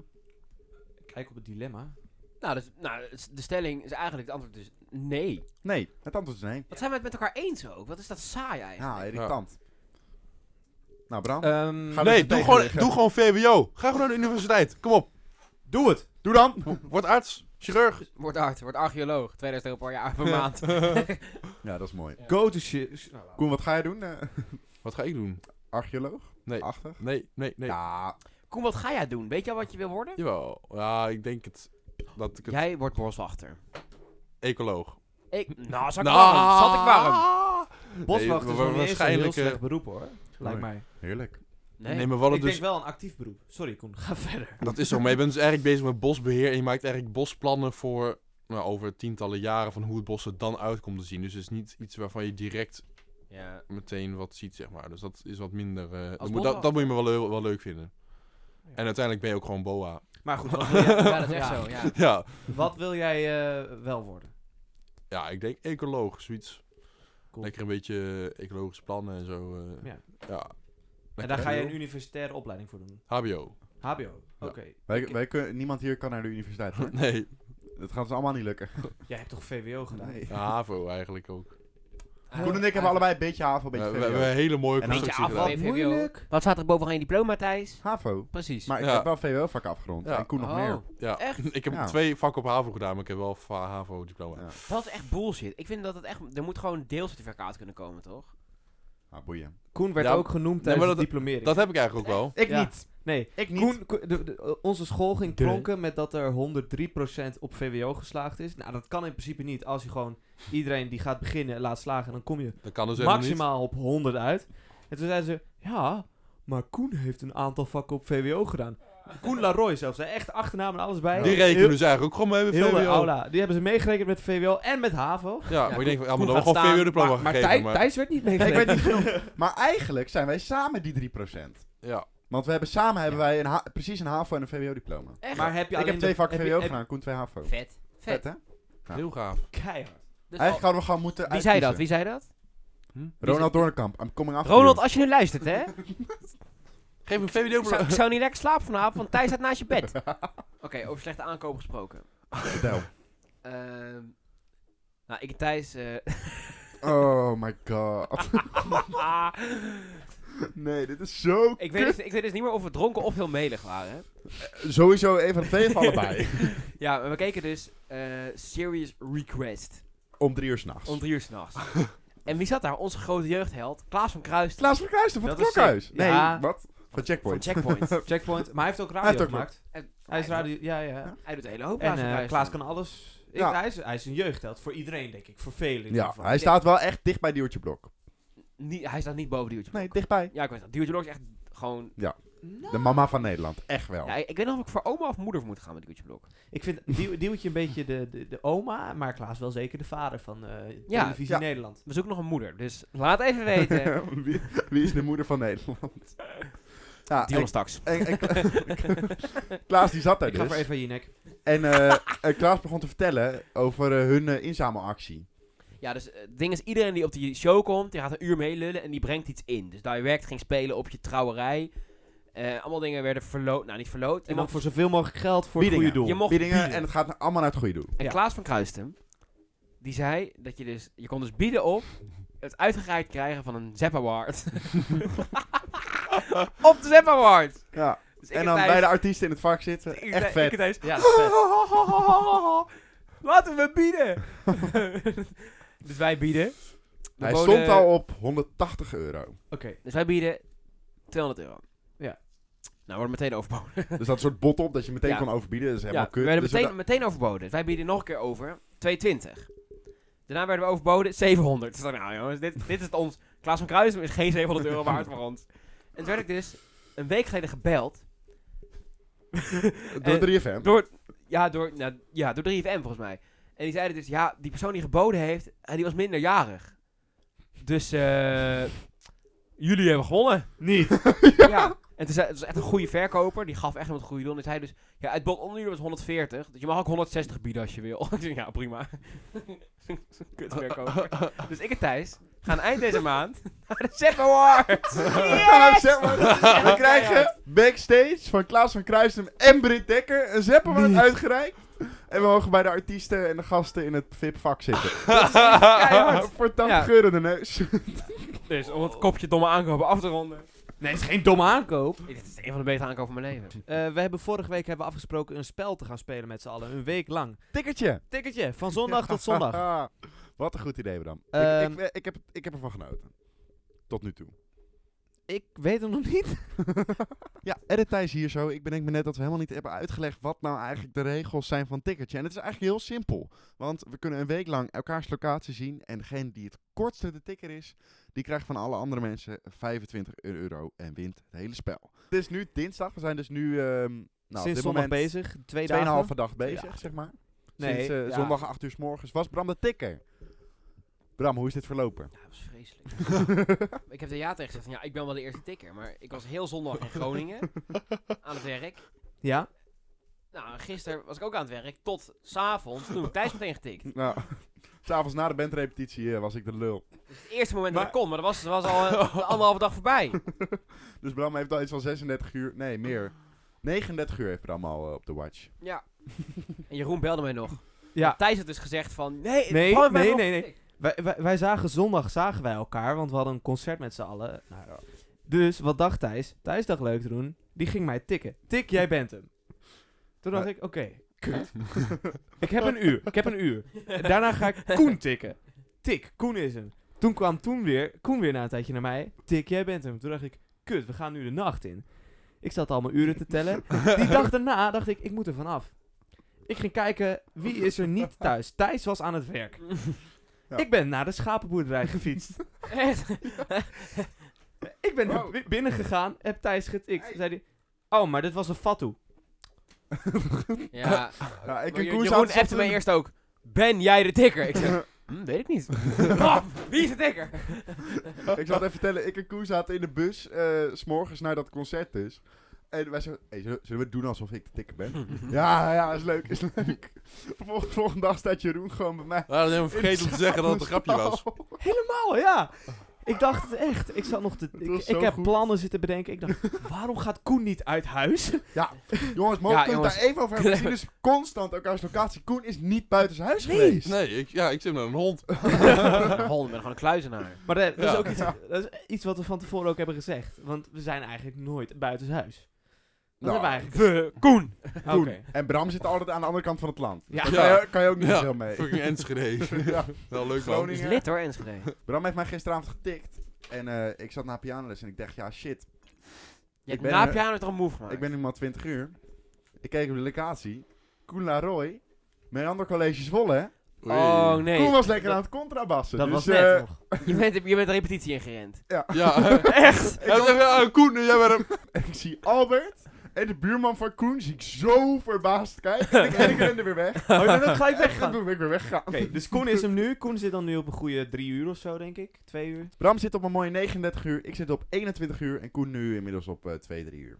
[SPEAKER 3] Kijk op het dilemma.
[SPEAKER 1] Nou, dus, nou, het is- de stelling is eigenlijk het antwoord dus nee.
[SPEAKER 2] Nee, het antwoord is nee.
[SPEAKER 1] Wat zijn we het met elkaar eens ook? Wat is dat saai eigenlijk?
[SPEAKER 2] Ja, irritant. Nou, Bram.
[SPEAKER 3] Ehm,
[SPEAKER 2] Gaan we het
[SPEAKER 5] Nee, doe
[SPEAKER 2] tegen
[SPEAKER 5] gewoon,
[SPEAKER 2] liggen?
[SPEAKER 5] doe gewoon VWO. Ga gewoon naar de universiteit. Kom op. Doe het.
[SPEAKER 2] Doe dan!
[SPEAKER 5] Word arts, chirurg.
[SPEAKER 1] Word art, word archeoloog. 2000 euro per jaar per maand.
[SPEAKER 2] Ja, dat is mooi.
[SPEAKER 3] Go to shit. Nou, laat.
[SPEAKER 2] Koen, wat ga je doen? eh?
[SPEAKER 5] Wat ga ik doen?
[SPEAKER 2] archeoloog?
[SPEAKER 5] Nee.
[SPEAKER 2] Achtig?
[SPEAKER 5] Nee, nee, nee.
[SPEAKER 2] Ja.
[SPEAKER 1] Koen, wat ga jij doen? Weet je al wat je wil worden?
[SPEAKER 5] Jawel. Ja, ik denk het. Dat ik het
[SPEAKER 1] Jij wordt boswachter.
[SPEAKER 5] ecoloog.
[SPEAKER 1] Ik, nou, zat ik
[SPEAKER 5] Nou.
[SPEAKER 1] warm. Zat ik warm.
[SPEAKER 3] Boswacht
[SPEAKER 5] Nee,
[SPEAKER 3] is
[SPEAKER 5] wa-
[SPEAKER 3] nog niet eens een heel
[SPEAKER 5] waarschijnlijk, eh,
[SPEAKER 3] slecht beroep hoor. Lijkt mij.
[SPEAKER 2] Heerlijk.
[SPEAKER 5] Nee,
[SPEAKER 1] Nee.
[SPEAKER 5] maar wat
[SPEAKER 3] Ik
[SPEAKER 5] het
[SPEAKER 3] denk
[SPEAKER 5] dus.
[SPEAKER 3] wel een actief beroep. Sorry Koen, ga verder.
[SPEAKER 5] Dat is zo. Maar je bent dus eigenlijk bezig met bosbeheer. En je maakt eigenlijk bosplannen voor. Nou, over tientallen jaren van hoe het bos er dan uit komt te zien. Dus het is niet iets waarvan je direct
[SPEAKER 1] Ja.
[SPEAKER 5] meteen wat ziet, zeg maar. Dus dat is wat minder... eh, dat, moet,
[SPEAKER 1] motto-
[SPEAKER 5] dat, dat moet je me wel, leu- wel leuk vinden.
[SPEAKER 3] Ja.
[SPEAKER 5] En uiteindelijk ben je ook gewoon boa.
[SPEAKER 3] Maar goed, wat wil jij,
[SPEAKER 1] ja, dat is echt zo, ja.
[SPEAKER 5] ja.
[SPEAKER 3] Wat wil jij eh, wel worden?
[SPEAKER 5] ja, ik denk ecoloog, zoiets.
[SPEAKER 3] Cool.
[SPEAKER 5] Lekker een beetje eh, ecologische plannen en zo. eh.
[SPEAKER 3] Ja.
[SPEAKER 5] ja.
[SPEAKER 3] En daar ga je een
[SPEAKER 5] nu
[SPEAKER 3] universitaire opleiding voor doen.
[SPEAKER 5] HBO.
[SPEAKER 3] HBO. Oké.
[SPEAKER 2] Wij, wij kunnen, niemand hier kan naar de universiteit. hoor.
[SPEAKER 5] Nee,
[SPEAKER 2] Dat gaat ons allemaal niet lukken.
[SPEAKER 3] Jij hebt toch VWO gedaan?
[SPEAKER 2] Nee.
[SPEAKER 5] HAVO eigenlijk ook.
[SPEAKER 2] Koen en ik hebben allebei een beetje HAVO, een
[SPEAKER 5] We, we
[SPEAKER 2] beetje
[SPEAKER 5] hebben
[SPEAKER 2] VWO.
[SPEAKER 5] een hele mooie
[SPEAKER 2] En een
[SPEAKER 5] constructie
[SPEAKER 1] beetje
[SPEAKER 5] gedaan.
[SPEAKER 1] afval. VWO. Wat staat er bovenaan je diploma, Thijs?
[SPEAKER 2] HAVO?
[SPEAKER 1] Precies.
[SPEAKER 2] Maar ik
[SPEAKER 5] Ja.
[SPEAKER 2] heb wel VWO-vak afgerond.
[SPEAKER 5] Ja.
[SPEAKER 2] En Koen nog
[SPEAKER 1] Oh,
[SPEAKER 2] meer.
[SPEAKER 5] Ja.
[SPEAKER 1] Echt?
[SPEAKER 5] Ik heb
[SPEAKER 2] Ja.
[SPEAKER 5] twee vakken op HAVO gedaan, maar ik heb wel va- HAVO-diploma.
[SPEAKER 2] Ja.
[SPEAKER 1] Dat is echt bullshit. Ik vind dat het echt... Er moet gewoon een deelcertificaat kunnen komen, toch?
[SPEAKER 2] Ah, boeien.
[SPEAKER 3] Koen werd
[SPEAKER 5] Ja,
[SPEAKER 3] ook genoemd
[SPEAKER 5] nee,
[SPEAKER 3] tijdens
[SPEAKER 5] maar
[SPEAKER 3] de diplomering.
[SPEAKER 5] Dat heb ik eigenlijk ook wel.
[SPEAKER 2] Ik
[SPEAKER 3] Ja.
[SPEAKER 2] niet.
[SPEAKER 3] nee,
[SPEAKER 2] Ik niet.
[SPEAKER 3] Koen, Koen- de- de- onze school ging
[SPEAKER 1] De-
[SPEAKER 3] pronken met dat er 103% op VWO geslaagd is. Nou, dat kan in principe niet als je gewoon iedereen die gaat beginnen laat slagen. En dan kom je
[SPEAKER 5] Dat kan dus helemaal niet.
[SPEAKER 3] maximaal op 100 uit. En toen zeiden ze, ja, maar Koen heeft een aantal vakken op VWO gedaan. Koen Laroy zelfs, hè. echt achternaam en alles bij.
[SPEAKER 5] Die rekenen dus eigenlijk ook gewoon mee met
[SPEAKER 3] Heel de
[SPEAKER 5] VWO.
[SPEAKER 3] aula. Die hebben ze meegerekend met VWO en met HAVO.
[SPEAKER 5] Ja, maar ik denk van, ja,
[SPEAKER 3] Koen
[SPEAKER 5] maar dan
[SPEAKER 3] gaat
[SPEAKER 5] gewoon
[SPEAKER 3] staan,
[SPEAKER 5] VWO-diploma
[SPEAKER 3] Maar
[SPEAKER 5] gegeven.
[SPEAKER 3] Thij-
[SPEAKER 5] Maar,
[SPEAKER 3] Thijs werd niet
[SPEAKER 2] Ja, ik
[SPEAKER 3] meegerekend.
[SPEAKER 2] weet niet genoemd. Maar eigenlijk zijn wij samen die 3%.
[SPEAKER 5] ja.
[SPEAKER 2] Want we hebben samen hebben wij een ha- precies een HAVO en een VWO-diploma.
[SPEAKER 1] Echt?
[SPEAKER 3] Maar heb je
[SPEAKER 2] Ik
[SPEAKER 3] alleen
[SPEAKER 2] heb twee
[SPEAKER 3] de-
[SPEAKER 2] vakken
[SPEAKER 3] heb je-
[SPEAKER 2] VWO
[SPEAKER 3] heb-
[SPEAKER 2] gedaan, Koen twee HAVO.
[SPEAKER 1] Vet.
[SPEAKER 2] Vet,
[SPEAKER 1] Vet.
[SPEAKER 2] hè? Ja.
[SPEAKER 5] heel gaaf.
[SPEAKER 3] Keihard.
[SPEAKER 1] Dus al-
[SPEAKER 2] Eigenlijk hadden we gewoon moeten
[SPEAKER 1] Wie zei dat?
[SPEAKER 2] uitkiezen.
[SPEAKER 1] Wie zei dat?
[SPEAKER 2] Ronald Doornkamp, I'm coming after
[SPEAKER 1] Ronald,
[SPEAKER 2] you.
[SPEAKER 1] als je nu luistert, hè?
[SPEAKER 5] Geef een
[SPEAKER 1] Ik zou,
[SPEAKER 5] VWO-diploma.
[SPEAKER 1] ik zou niet lekker slapen vanavond, want Thijs staat naast je bed. Oké, over slechte aankopen gesproken.
[SPEAKER 2] Vertel.
[SPEAKER 1] Ehm, nou, ik en Thijs... eh,
[SPEAKER 2] Oh my god. Nee, dit is zo
[SPEAKER 1] Ah. ik, weet dus, ik weet dus niet meer of we dronken of heel melig waren.
[SPEAKER 2] Sowieso een van de twee of allebei.
[SPEAKER 1] Ja, maar we keken dus eh, Serious Request.
[SPEAKER 2] Om drie uur s'nachts.
[SPEAKER 1] Om drie uur s'nachts. en wie zat daar? Onze grote jeugdheld, Klaas van Kruis.
[SPEAKER 2] Klaas van Kruijsten van het
[SPEAKER 3] Dat is
[SPEAKER 2] klokhuis.
[SPEAKER 3] sick.
[SPEAKER 2] Nee,
[SPEAKER 3] Ja.
[SPEAKER 2] wat? Van
[SPEAKER 1] van
[SPEAKER 2] Checkpoint.
[SPEAKER 1] Checkpoint.
[SPEAKER 3] Checkpoint. Maar hij heeft ook radio
[SPEAKER 2] Hij heeft ook
[SPEAKER 3] gemaakt.
[SPEAKER 1] En-
[SPEAKER 3] Hij is radio... Ja, ja.
[SPEAKER 1] Hij doet een hele hoop
[SPEAKER 3] En
[SPEAKER 1] Klaas van
[SPEAKER 3] eh,
[SPEAKER 1] Kruis.
[SPEAKER 3] Klaas kan alles. Ik-
[SPEAKER 2] Ja.
[SPEAKER 3] hij, is, hij is een jeugdheld voor iedereen, denk ik. Voor velen. in ieder
[SPEAKER 2] Ja,
[SPEAKER 3] geval.
[SPEAKER 2] hij staat wel echt dicht bij Diertje Blok.
[SPEAKER 1] Niet- hij staat niet boven Duwtje
[SPEAKER 2] Nee, dichtbij.
[SPEAKER 1] Ja, ik weet dat. Duwtje Blok is echt gewoon...
[SPEAKER 2] De mama van Nederland, echt wel.
[SPEAKER 3] Nou.
[SPEAKER 1] Ja, ik ik weet nog of ik voor oma of moeder moet gaan met Duwtje Blok.
[SPEAKER 3] Ik vind Diew- Dieuwtje een beetje de, de, de oma, maar Klaas wel zeker de vader van eh,
[SPEAKER 1] Ja,
[SPEAKER 3] Televisie
[SPEAKER 2] ja.
[SPEAKER 3] Nederland.
[SPEAKER 1] We zoeken nog een moeder, dus laat even weten.
[SPEAKER 2] wie, wie is de moeder van Nederland? Ja,
[SPEAKER 1] Dion
[SPEAKER 2] en,
[SPEAKER 1] straks.
[SPEAKER 2] Ah, en- en Klaas die zat daar
[SPEAKER 3] Ik ga voor
[SPEAKER 2] dus.
[SPEAKER 3] even aan je nek.
[SPEAKER 2] En eh, eh, Klaas begon te vertellen over eh, hun eh, inzamelactie.
[SPEAKER 1] Ja, dus eh, het ding is, iedereen die op die show komt, die gaat een uur meelullen en die brengt iets in. Dus direct ging spelen op je trouwerij. Eh, allemaal dingen werden verloot, nou niet verloot.
[SPEAKER 3] En dan
[SPEAKER 1] Iemand-
[SPEAKER 3] voor zoveel mogelijk geld voor het
[SPEAKER 2] Biedingen.
[SPEAKER 3] goede doel.
[SPEAKER 1] Je mocht
[SPEAKER 2] Biedingen,
[SPEAKER 1] bieden.
[SPEAKER 2] en het gaat allemaal naar het goede doel.
[SPEAKER 1] En
[SPEAKER 3] Ja.
[SPEAKER 1] Klaas van Kruisten, die zei dat je dus, je kon dus bieden op het uitgereikt krijgen van een Zep Award. op de Zep Award!
[SPEAKER 2] Ja.
[SPEAKER 1] Dus ik
[SPEAKER 2] En dan
[SPEAKER 1] Thijs-
[SPEAKER 2] bij de artiesten in het vak zitten.
[SPEAKER 1] ik-
[SPEAKER 2] Echt
[SPEAKER 1] ik-
[SPEAKER 2] vet.
[SPEAKER 1] Ik, Thijs,
[SPEAKER 3] Ja, dat is vet.
[SPEAKER 1] Laten we bieden! dus wij bieden. We
[SPEAKER 2] Hij
[SPEAKER 1] boden-
[SPEAKER 2] stond al op 180 euro.
[SPEAKER 3] Oké.
[SPEAKER 1] Dus wij bieden 200 euro.
[SPEAKER 3] Ja.
[SPEAKER 1] Nou, wordt meteen overboden.
[SPEAKER 2] Dus dat soort bot op dat je meteen
[SPEAKER 1] Ja.
[SPEAKER 2] kon overbieden. Dat is helemaal
[SPEAKER 1] ja, we
[SPEAKER 2] kut.
[SPEAKER 1] werden
[SPEAKER 2] Dus
[SPEAKER 1] meteen,
[SPEAKER 2] we
[SPEAKER 1] meteen overboden. Dus wij bieden nog een keer over 220. Daarna werden we overboden 700. Dus ik dacht, nou jongens, dit, dit is het ons. Klaas van Kruijsen is geen 700 euro waard voor ons. En toen werd ik dus een week geleden gebeld.
[SPEAKER 2] dachten,
[SPEAKER 1] eh,
[SPEAKER 2] door 3FM.
[SPEAKER 1] Door, ja, door, nou, ja, door 3FM volgens mij. En die zeiden dus, ja, die persoon die geboden heeft, eh, die was minderjarig. Dus eh, jullie hebben gewonnen.
[SPEAKER 3] Niet.
[SPEAKER 1] Ja. En toen zei, het was echt een goede verkoper, die gaf echt nog het goede doel. En hij dus, ja, het bod onder jullie was 140, dus je mag ook 160 bieden als je wil. Ik zei, ja, prima. Kut verkoper. Dus ik en Thijs gaan eind deze maand naar de Zep Awards.
[SPEAKER 2] Ja,
[SPEAKER 1] Yes!
[SPEAKER 2] zeg maar. We krijgen backstage van Klaas van Kruisem en Britt Dekker een zeppenman uitgereikt. En we mogen bij de artiesten en de gasten in het VIP-vak zitten. Voor 80
[SPEAKER 1] Ja.
[SPEAKER 2] euro de neus.
[SPEAKER 1] Dus om het kopje domme aankopen af te ronden.
[SPEAKER 3] Nee, het is geen domme aankoop.
[SPEAKER 1] Dit is een van de betere aankopen van mijn leven.
[SPEAKER 3] Eh, we hebben vorige week hebben we afgesproken een spel te gaan spelen met z'n allen. Een week lang.
[SPEAKER 2] Tikkertje. Ah,
[SPEAKER 3] Ticketje, van zondag tot zondag.
[SPEAKER 2] Wat een goed idee, Bram.
[SPEAKER 3] Ehm.
[SPEAKER 2] ik, ik, ik, heb, ik heb ervan genoten. Tot nu toe.
[SPEAKER 3] Ik weet het nog
[SPEAKER 2] Nou,
[SPEAKER 3] niet.
[SPEAKER 2] Ja, edit Thijs hier zo. Ik bedenk me net dat we helemaal niet hebben uitgelegd wat nou eigenlijk de regels zijn van Ticketje. En het is eigenlijk heel simpel. Want we kunnen een week lang elkaars locatie zien. En degene die het kortste de ticker is, die krijgt van alle andere mensen 25 euro en wint het hele spel. Het is nu dinsdag. We zijn dus nu ehm, nou, op
[SPEAKER 3] Sinds
[SPEAKER 2] dit
[SPEAKER 3] zondag
[SPEAKER 2] moment
[SPEAKER 3] bezig. Twee dagen.
[SPEAKER 2] Tweeënhalve dag bezig, zeg maar.
[SPEAKER 3] Nee,
[SPEAKER 2] Sinds eh,
[SPEAKER 3] ja.
[SPEAKER 2] zondag 8 uur s morgens was Bram de tikker. Bram, hoe is dit verlopen?
[SPEAKER 1] Ja, dat was vreselijk. ik heb de ja tegen gezegd. van, Ja, ik ben wel de eerste tikker. Maar ik was heel zondag in Groningen aan het werk.
[SPEAKER 3] Ja?
[SPEAKER 1] Nou, gisteren was ik ook aan het werk. Tot s'avonds. Toen heb ik Thijs meteen getikt.
[SPEAKER 2] Nou, s'avonds na de bandrepetitie eh, was ik de lul.
[SPEAKER 1] Dat is het eerste moment dat
[SPEAKER 2] Maar-
[SPEAKER 1] ik kon. Maar dat was, dat was al eh, de anderhalve dag voorbij.
[SPEAKER 2] Dus Bram heeft al iets van 36 uur, nee meer. 39 uur heeft Bram al eh, op de watch.
[SPEAKER 1] Ja. En Jeroen belde mij nog.
[SPEAKER 3] Ja.
[SPEAKER 1] Thijs had dus gezegd van... Nee,
[SPEAKER 3] Nee,
[SPEAKER 1] Bram heeft mij
[SPEAKER 3] nee,
[SPEAKER 1] nog
[SPEAKER 3] nee, nee.
[SPEAKER 1] getikt.
[SPEAKER 3] Wij, wij, wij zagen zondag zagen wij elkaar, want we hadden een concert met z'n allen.
[SPEAKER 2] Nou ja.
[SPEAKER 3] Dus wat dacht Thijs? Thijs dacht leuk te doen. Die ging mij tikken. Tik, jij bent hem. Toen dacht
[SPEAKER 2] Maar-
[SPEAKER 3] ik, oké, kut. ik heb een uur, ik heb een uur. En daarna ga ik Koen tikken. Tik, Koen is hem. Toen kwam toen weer, Koen weer na een tijdje naar mij. Tik, jij bent hem. Toen dacht ik, kut, we gaan nu de nacht in. Ik zat al mijn uren te tellen. Die dag daarna dacht ik, ik moet er vanaf. Ik ging kijken, wie is er niet thuis? Thijs was aan het werk.
[SPEAKER 2] Ja.
[SPEAKER 3] Ik ben naar de schapenboerderij gefietst.
[SPEAKER 1] Echt?
[SPEAKER 3] Ik ben naar bi- binnen gegaan, heb Thijs getikt. Zei die, oh, maar dit was een fatu.
[SPEAKER 1] Ja.
[SPEAKER 2] Ja, Nou, ik
[SPEAKER 1] Maar
[SPEAKER 2] en
[SPEAKER 1] Je-
[SPEAKER 2] Koen
[SPEAKER 1] Jeroen
[SPEAKER 2] zaten
[SPEAKER 1] appte mij eerst ook. Ben jij de tikker? Ik zeg, "Hm, weet ik niet. Bram, wie is de tikker?
[SPEAKER 2] Ik zal het even vertellen, ik en Koen zaten in de bus, eh, s s'morgens naar dat concert dus. En wij zeiden, hey, zullen, zullen we doen alsof ik de tikker ben? ja, ja, is leuk, is leuk. Vervolgens, volgende dag staat Jeroen gewoon bij mij.
[SPEAKER 5] Ja, dan hebben we vergeten om te zeggen dat het een grapje was.
[SPEAKER 3] Helemaal, Oh, ja. Ik dacht het echt. Ik zat nog te...
[SPEAKER 2] was
[SPEAKER 3] Ik,
[SPEAKER 2] zo
[SPEAKER 3] ik heb
[SPEAKER 2] goed.
[SPEAKER 3] plannen zitten bedenken. Ik dacht, waarom gaat Koen niet uit huis?
[SPEAKER 2] Jongens, mogen
[SPEAKER 1] Ja,
[SPEAKER 2] we het
[SPEAKER 1] jongens.
[SPEAKER 2] daar even over hebben? We zien dus constant elkaars locatie. Koen is niet buiten zijn huis geweest.
[SPEAKER 5] Nee, ik, ja, ik zit met een hond.
[SPEAKER 1] Hol, ik ben gewoon een kluizenaar.
[SPEAKER 3] Maar dat, dat
[SPEAKER 5] Ja.
[SPEAKER 3] is ook iets, dat is iets wat we van tevoren ook hebben gezegd. Want we zijn eigenlijk nooit buiten huis. Dat
[SPEAKER 2] Nou,
[SPEAKER 3] hebben we eigenlijk.
[SPEAKER 1] We, Koen.
[SPEAKER 3] Oké.
[SPEAKER 2] Koen. En Bram zit altijd aan de andere kant van het land.
[SPEAKER 3] Ja.
[SPEAKER 2] Daar
[SPEAKER 5] Ja.
[SPEAKER 2] kan je, kan je ook niet
[SPEAKER 5] Ja,
[SPEAKER 2] veel mee.
[SPEAKER 5] fucking Enschede.
[SPEAKER 2] Ja.
[SPEAKER 5] Wel leuk man.
[SPEAKER 2] Groningen.
[SPEAKER 1] Is lid hoor, Enschede.
[SPEAKER 2] Bram heeft mij gisteravond getikt. En eh, ik zat na pianoles en ik dacht, ja shit,
[SPEAKER 1] Je hebt
[SPEAKER 2] ben
[SPEAKER 1] na
[SPEAKER 2] er-
[SPEAKER 1] piano toch een move gemaakt?
[SPEAKER 2] ik ben nu maar 20 uur. Ik keek op de locatie. Koen Laroy. Mijn ander college is vol, hè?
[SPEAKER 5] Oei.
[SPEAKER 1] Oh
[SPEAKER 2] Koen
[SPEAKER 1] nee,
[SPEAKER 2] was lekker aan het contrabassen.
[SPEAKER 3] Dat
[SPEAKER 2] dus,
[SPEAKER 3] was
[SPEAKER 2] eh,
[SPEAKER 3] net nog.
[SPEAKER 1] je bent, je bent de repetitie ingerend.
[SPEAKER 5] Ja, echt? Hij zegt, ja, Koen, jij bent hem.
[SPEAKER 2] ik zie Albert en de buurman van Koen zie ik zo verbaasd kijken. En ik, en ik rende weer weg.
[SPEAKER 3] Oh, je bent ook gelijk
[SPEAKER 2] En
[SPEAKER 3] weggegaan.
[SPEAKER 2] toen ben ik weer weggegaan.
[SPEAKER 3] Oké, dus Koen is hem nu. Koen zit dan nu op een goede drie uur of zo, denk ik. Twee uur.
[SPEAKER 2] Bram zit op een mooie 39 uur. Ik zit op 21 uur. En Koen nu inmiddels op eh, 2, 3 uur.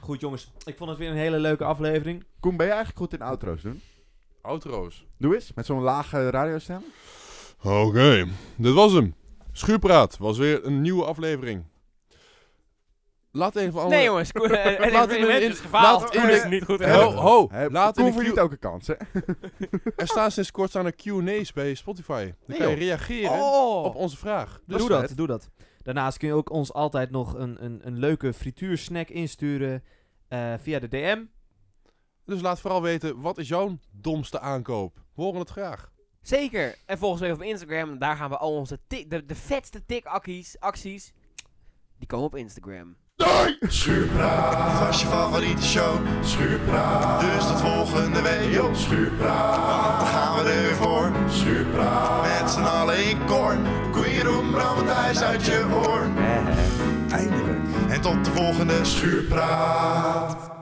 [SPEAKER 3] Goed, jongens. Ik vond het weer een hele leuke aflevering.
[SPEAKER 2] Koen, ben je eigenlijk goed in outro's doen?
[SPEAKER 5] Outro's.
[SPEAKER 2] Doe eens, met zo'n lage radiostem.
[SPEAKER 5] Oké, dit was hem. Schuurpraat was weer een nieuwe aflevering. Laat even andere...
[SPEAKER 1] Nee jongens, Koen, eh, het
[SPEAKER 5] Laat hem
[SPEAKER 1] experiment
[SPEAKER 5] in-
[SPEAKER 1] is gefaald.
[SPEAKER 5] laat
[SPEAKER 2] hem
[SPEAKER 1] Koen is
[SPEAKER 2] in-
[SPEAKER 1] niet goed.
[SPEAKER 5] Ho, ho,
[SPEAKER 2] Hè,
[SPEAKER 5] laat in
[SPEAKER 2] Koen
[SPEAKER 5] de
[SPEAKER 2] verdient
[SPEAKER 5] queue-
[SPEAKER 2] ook een kans, hè?
[SPEAKER 5] Er staan sinds kort staan er Q&A's bij Spotify. Dan
[SPEAKER 2] Nee,
[SPEAKER 5] kan je
[SPEAKER 2] joh.
[SPEAKER 5] reageren
[SPEAKER 1] Oh.
[SPEAKER 3] Oh.
[SPEAKER 5] op onze vraag. Dus
[SPEAKER 3] doe
[SPEAKER 2] vet.
[SPEAKER 3] dat, doe dat. Daarnaast kun je ook ons altijd nog een, een, een leuke frituursnack insturen eh, via de DM.
[SPEAKER 5] Dus laat vooral weten, wat is jouw domste aankoop? We horen het graag.
[SPEAKER 1] Zeker. En volgens mij op Instagram, daar gaan we al onze tik, de, de vetste tikacties, acties, die komen op Instagram.
[SPEAKER 4] Schuurpraat was je favoriete show. Schuurpraat, dus tot volgende week. Yo, schuurpraat, want dan gaan we er weer voor. Schuurpraat, met z'n allen in koor. Koen Jeroen, Bram en Thijs uit je oor. Eindelijk. En tot de volgende Schuurpraat.